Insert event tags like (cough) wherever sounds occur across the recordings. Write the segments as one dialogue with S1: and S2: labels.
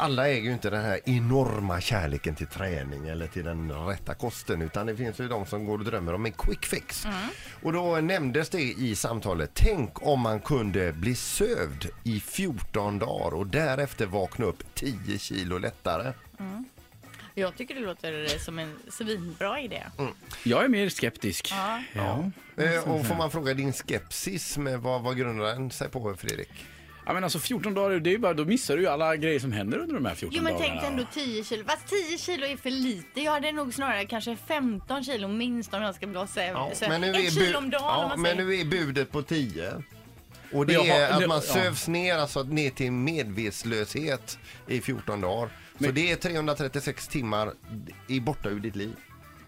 S1: Alla äger ju inte den här enorma kärleken till träning eller till den rätta kosten utan det finns ju de som går och drömmer om en quick fix. Och då nämndes det i samtalet, tänk om man kunde bli sövd i 14 dagar och därefter vakna upp 10 kilo lättare.
S2: Jag tycker det låter eh, som en svinbra idé.
S3: Mm. Jag är mer skeptisk. Ja.
S1: Eh, och får man fråga din skepsis, med vad, vad grundar den sig på Fredrik?
S3: Ja, men alltså 14 dagar, det är ju bara, då missar du ju alla grejer som händer under de här 14
S2: Jo men
S3: dagarna.
S2: tänk dig ändå 10 kilo. Fast 10 kilo är för lite. Jag hade nog snarare kanske 15 kilo minst om jag ska bli söv. söv.
S1: men nu
S2: Ett
S1: är bu-
S2: Alltså, kilo om dagen
S1: ja,
S2: om man
S1: men
S2: säger.
S1: nu är budet på 10. Och det
S3: Men jag har-
S1: är att
S3: det-
S1: man
S3: ja.
S1: sövs ner, alltså ner till medvetslöshet i 14 dagar. Så
S3: Men-
S1: det är 336 timmar i borta ur ditt liv.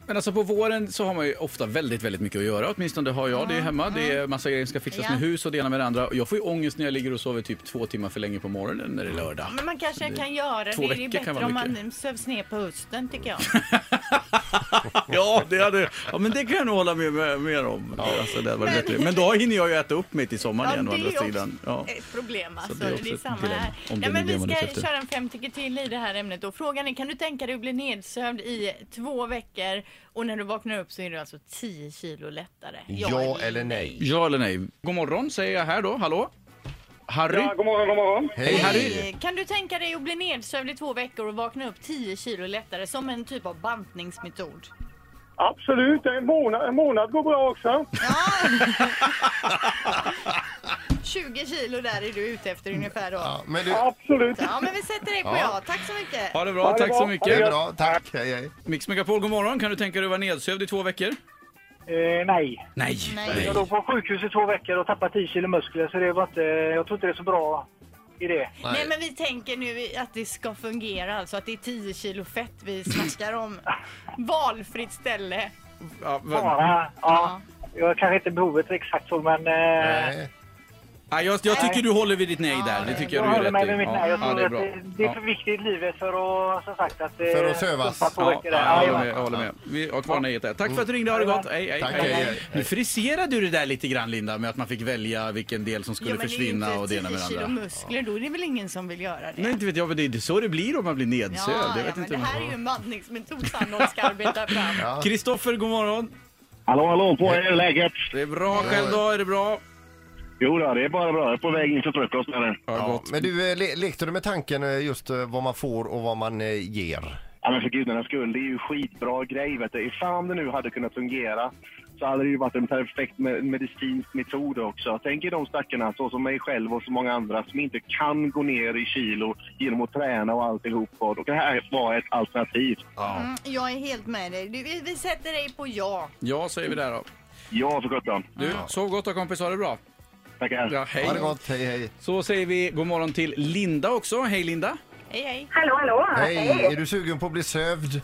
S3: Men alltså på våren så har man ju ofta väldigt, väldigt mycket att göra. Åtminstone har jag det hemma. Det är massa grejer som ska fixas
S2: Ja.
S3: med hus och det ena med det andra. Och Jag får ju ångest när jag ligger och sover typ två timmar för länge på morgonen när det är lördag.
S2: Men man kanske kan göra det.
S3: två
S2: Det är ju
S3: veckor kan
S2: bättre
S3: vara
S2: om
S3: mycket.
S2: man sövs ner på hösten tycker jag.
S3: (laughs) Ja, det hade, ja, men det kan jag nog hålla med, med, med om. Alltså, det hade varit
S2: Men-
S3: bättre. men då hinner jag ju äta upp mig till sommaren
S2: Ja,
S3: igen å andra
S2: det är
S3: sidan. Ja.
S2: också ett problem. Alltså.
S3: det
S2: Det
S3: är
S2: är,
S3: också ett
S2: samma
S3: dilemma,
S2: här.
S3: om det
S2: Nej,
S3: är
S2: men
S3: det
S2: vi
S3: man är ute
S2: ska
S3: efter.
S2: köra en femtiker till i det här ämnet. Och frågan är, kan du tänka dig att bli nedsövd i två veckor och när du vaknar upp så är du alltså 10 kilo lättare?
S1: Ja eller nej?
S3: ja eller nej? God morgon säger jag här då. Hallå? Harry?
S4: Ja, god morgon, god morgon.
S1: Hej Harry!
S2: Hej. Kan du tänka dig att bli nedsövd i två veckor och vakna upp 10 kilo lättare som en typ av bantningsmetod?
S4: Absolut, en månad, en månad går bra också.
S2: 20 kilo där är du ute efter ungefär då.
S1: Ja, men du,
S4: Absolut.
S2: Ja, men vi sätter dig på ja. Tack så mycket.
S3: Ha det bra,
S4: det
S3: tack
S4: bra.
S3: så
S1: det är
S3: mycket.
S1: bra, tack. Hej, hej.
S3: Mix Megapol, god morgon. Kan du tänka dig att vara nedsövd i två veckor?
S4: Eh, nej.
S3: Nej.
S4: Jag låg på sjukhus i två veckor och tappade 10 kilo muskler så det var inte, jag tror inte det är så bra idé.
S2: Nej, men vi tänker nu att det ska fungera, alltså att det är 10 kilo fett vi snackar om. Valfritt ställe.
S3: Ja, vad-
S4: Bara, ja. Jag kanske inte behovet är exakt så men... Eh,
S1: Nej.
S3: Ja, jag, jag tycker du håller vid ditt nej där. Det tycker
S4: jag
S3: jag du
S4: håller
S3: är
S4: med
S3: rätt
S4: med
S3: i.
S4: mitt nej. Jag
S3: ja,
S4: tror
S3: det är
S4: att
S3: bra.
S4: det, det är för
S3: Ja.
S4: viktigt i livet för att, som sagt, att... eh,
S1: För att sövas.
S4: stoppa två
S3: Ja,
S4: veckor där.
S3: ja, jag
S4: Ja,
S3: håller med. Jag håller med. Vi har kvar nejet där. Tack för att du ringde. Ha det gott. Hej, hej,
S1: Tack,
S3: hej,
S1: hej,
S3: hej.
S1: hej.
S3: Nu friserade du det där lite grann, Linda, med att man fick välja vilken del som skulle
S2: ja, men
S3: försvinna och
S2: det
S3: det
S2: är
S3: ena
S2: inte 10
S3: med det
S2: kilo
S3: andra.
S2: muskler, då är det väl ingen som vill göra det.
S3: Nej, inte vet jag. Men det är så det blir om man blir nedsövd.
S2: Ja,
S3: jag
S2: ja,
S3: vet
S2: men
S3: inte
S2: det
S3: hur man...
S2: här är ju en bantningsmetod Sandholm ska arbeta
S3: (laughs)
S2: fram.
S3: Kristoffer, god morgon.
S5: Hallå, hallå på er, läget?
S3: Det är bra. Själv då? Är det bra?
S5: Jo då, det är bara bra. Jag är på väg in för frukost här nu.
S3: Har det
S1: Ja,
S3: gått.
S1: men du, eh, le- lekte du med tanken eh, just eh, vad man får och vad man eh, ger?
S5: Ja, men för gudarnas skull, det är ju skitbra grej. Vet du. Ifall om det nu hade kunnat fungera så hade det ju varit en perfekt me- medicinsk metod också. Tänk er de stackarna, så som mig själv och så många andra, som inte kan gå ner i kilo genom att träna och alltihop. Och då kan det här vara ett alternativ.
S2: Mm, jag är helt med dig. Du, vi, vi sätter dig på ja.
S3: Ja, säger vi där då.
S5: Ja, för sjutton.
S3: Du, sov gott då kompis. Ha det bra.
S5: Tackar.
S3: Ja, hej.
S1: Ha det gott, hej hej.
S3: Så säger vi god morgon till Linda också. Hej Linda.
S2: Hej, hej.
S6: Hallå, hallå!
S1: Hej, är du sugen på att bli sövd?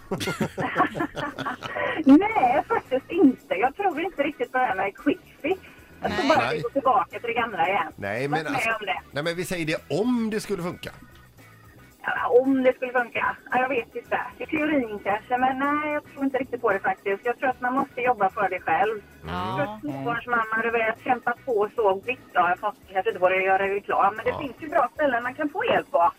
S6: Nej, faktiskt inte. Jag tror inte riktigt på det här med quick fix. Jag tror
S2: Mm.
S1: (laughs)
S6: bara
S1: Nej.
S6: vi går tillbaka till det gamla igen.
S1: Nej
S6: Varit
S1: men,
S6: med
S1: alltså,
S6: om det.
S1: nej, men vi säger det om det skulle funka.
S6: Ja, Om det skulle funka. Ja, jag vet inte. I teorin kanske, men nej, jag tror inte riktigt på det faktiskt. Jag tror att man måste jobba för det själv. Jag tror
S2: Ja.
S6: att
S7: Mm.
S6: småbarnsmamma, du vet, kämpa på så vitt. Ja, jag fattar kanske inte vad det är att göra reklam, men det finns ju bra ställen man kan få hjälp på.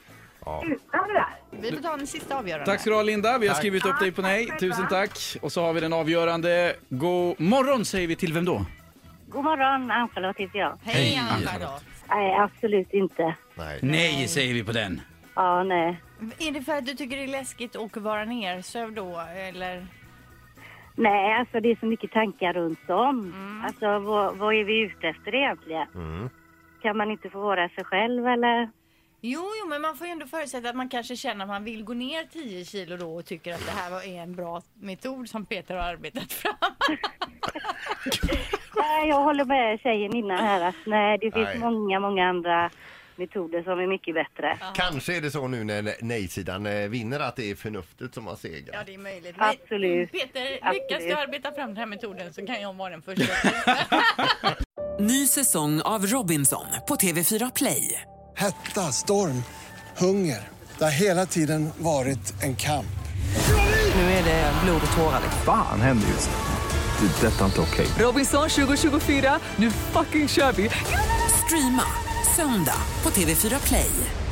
S6: Utan det där.
S2: Vi får ta en sista avgörande.
S3: Tack ska du ha Linda. Vi har
S1: Tack.
S3: skrivit upp dig på nej. Tusen tack. Och så har vi den avgörande. God morgon säger vi till vem då?
S7: God morgon, Ann-Charlotte heter jag.
S2: Hej, Anna. Då.
S7: Nej, absolut inte.
S1: Nej.
S3: Nej säger vi på den.
S7: Ja, nej.
S2: Är det för att du tycker det är läskigt att vara nersövd då? Eller?
S7: Nej, alltså det är så mycket tankar runt om. Alltså vad, vad är vi ute efter egentligen? Kan man inte få vara sig själv eller?
S2: Jo, jo, men man får ju ändå förutsätta att man kanske känner att man vill gå ner 10 kilo då och tycker att det här var- är en bra metod som Peter har arbetat fram.
S7: Nej, jag håller med tjejen innan här att nej, det finns
S1: Nej.
S7: många, många andra metoder som är mycket bättre.
S1: Kanske är det så nu när nej-sidan eh, vinner att det är förnuftet som har segrat.
S2: Ja, det är möjligt.
S7: Absolut.
S2: Peter, lyckas
S7: Absolut.
S2: du arbeta fram den här metoden så kan jag vara den första.
S8: Ny säsong av Robinson på TV4 Play.
S9: Hetta, storm, hunger. Det har hela tiden varit en kamp.
S8: Nu är det blod och tårar. liksom.
S10: Fan händer just nu. Det. är Detta är inte okej.
S8: Robinson 2024, nu fucking kör vi! Streama söndag på TV4 Play.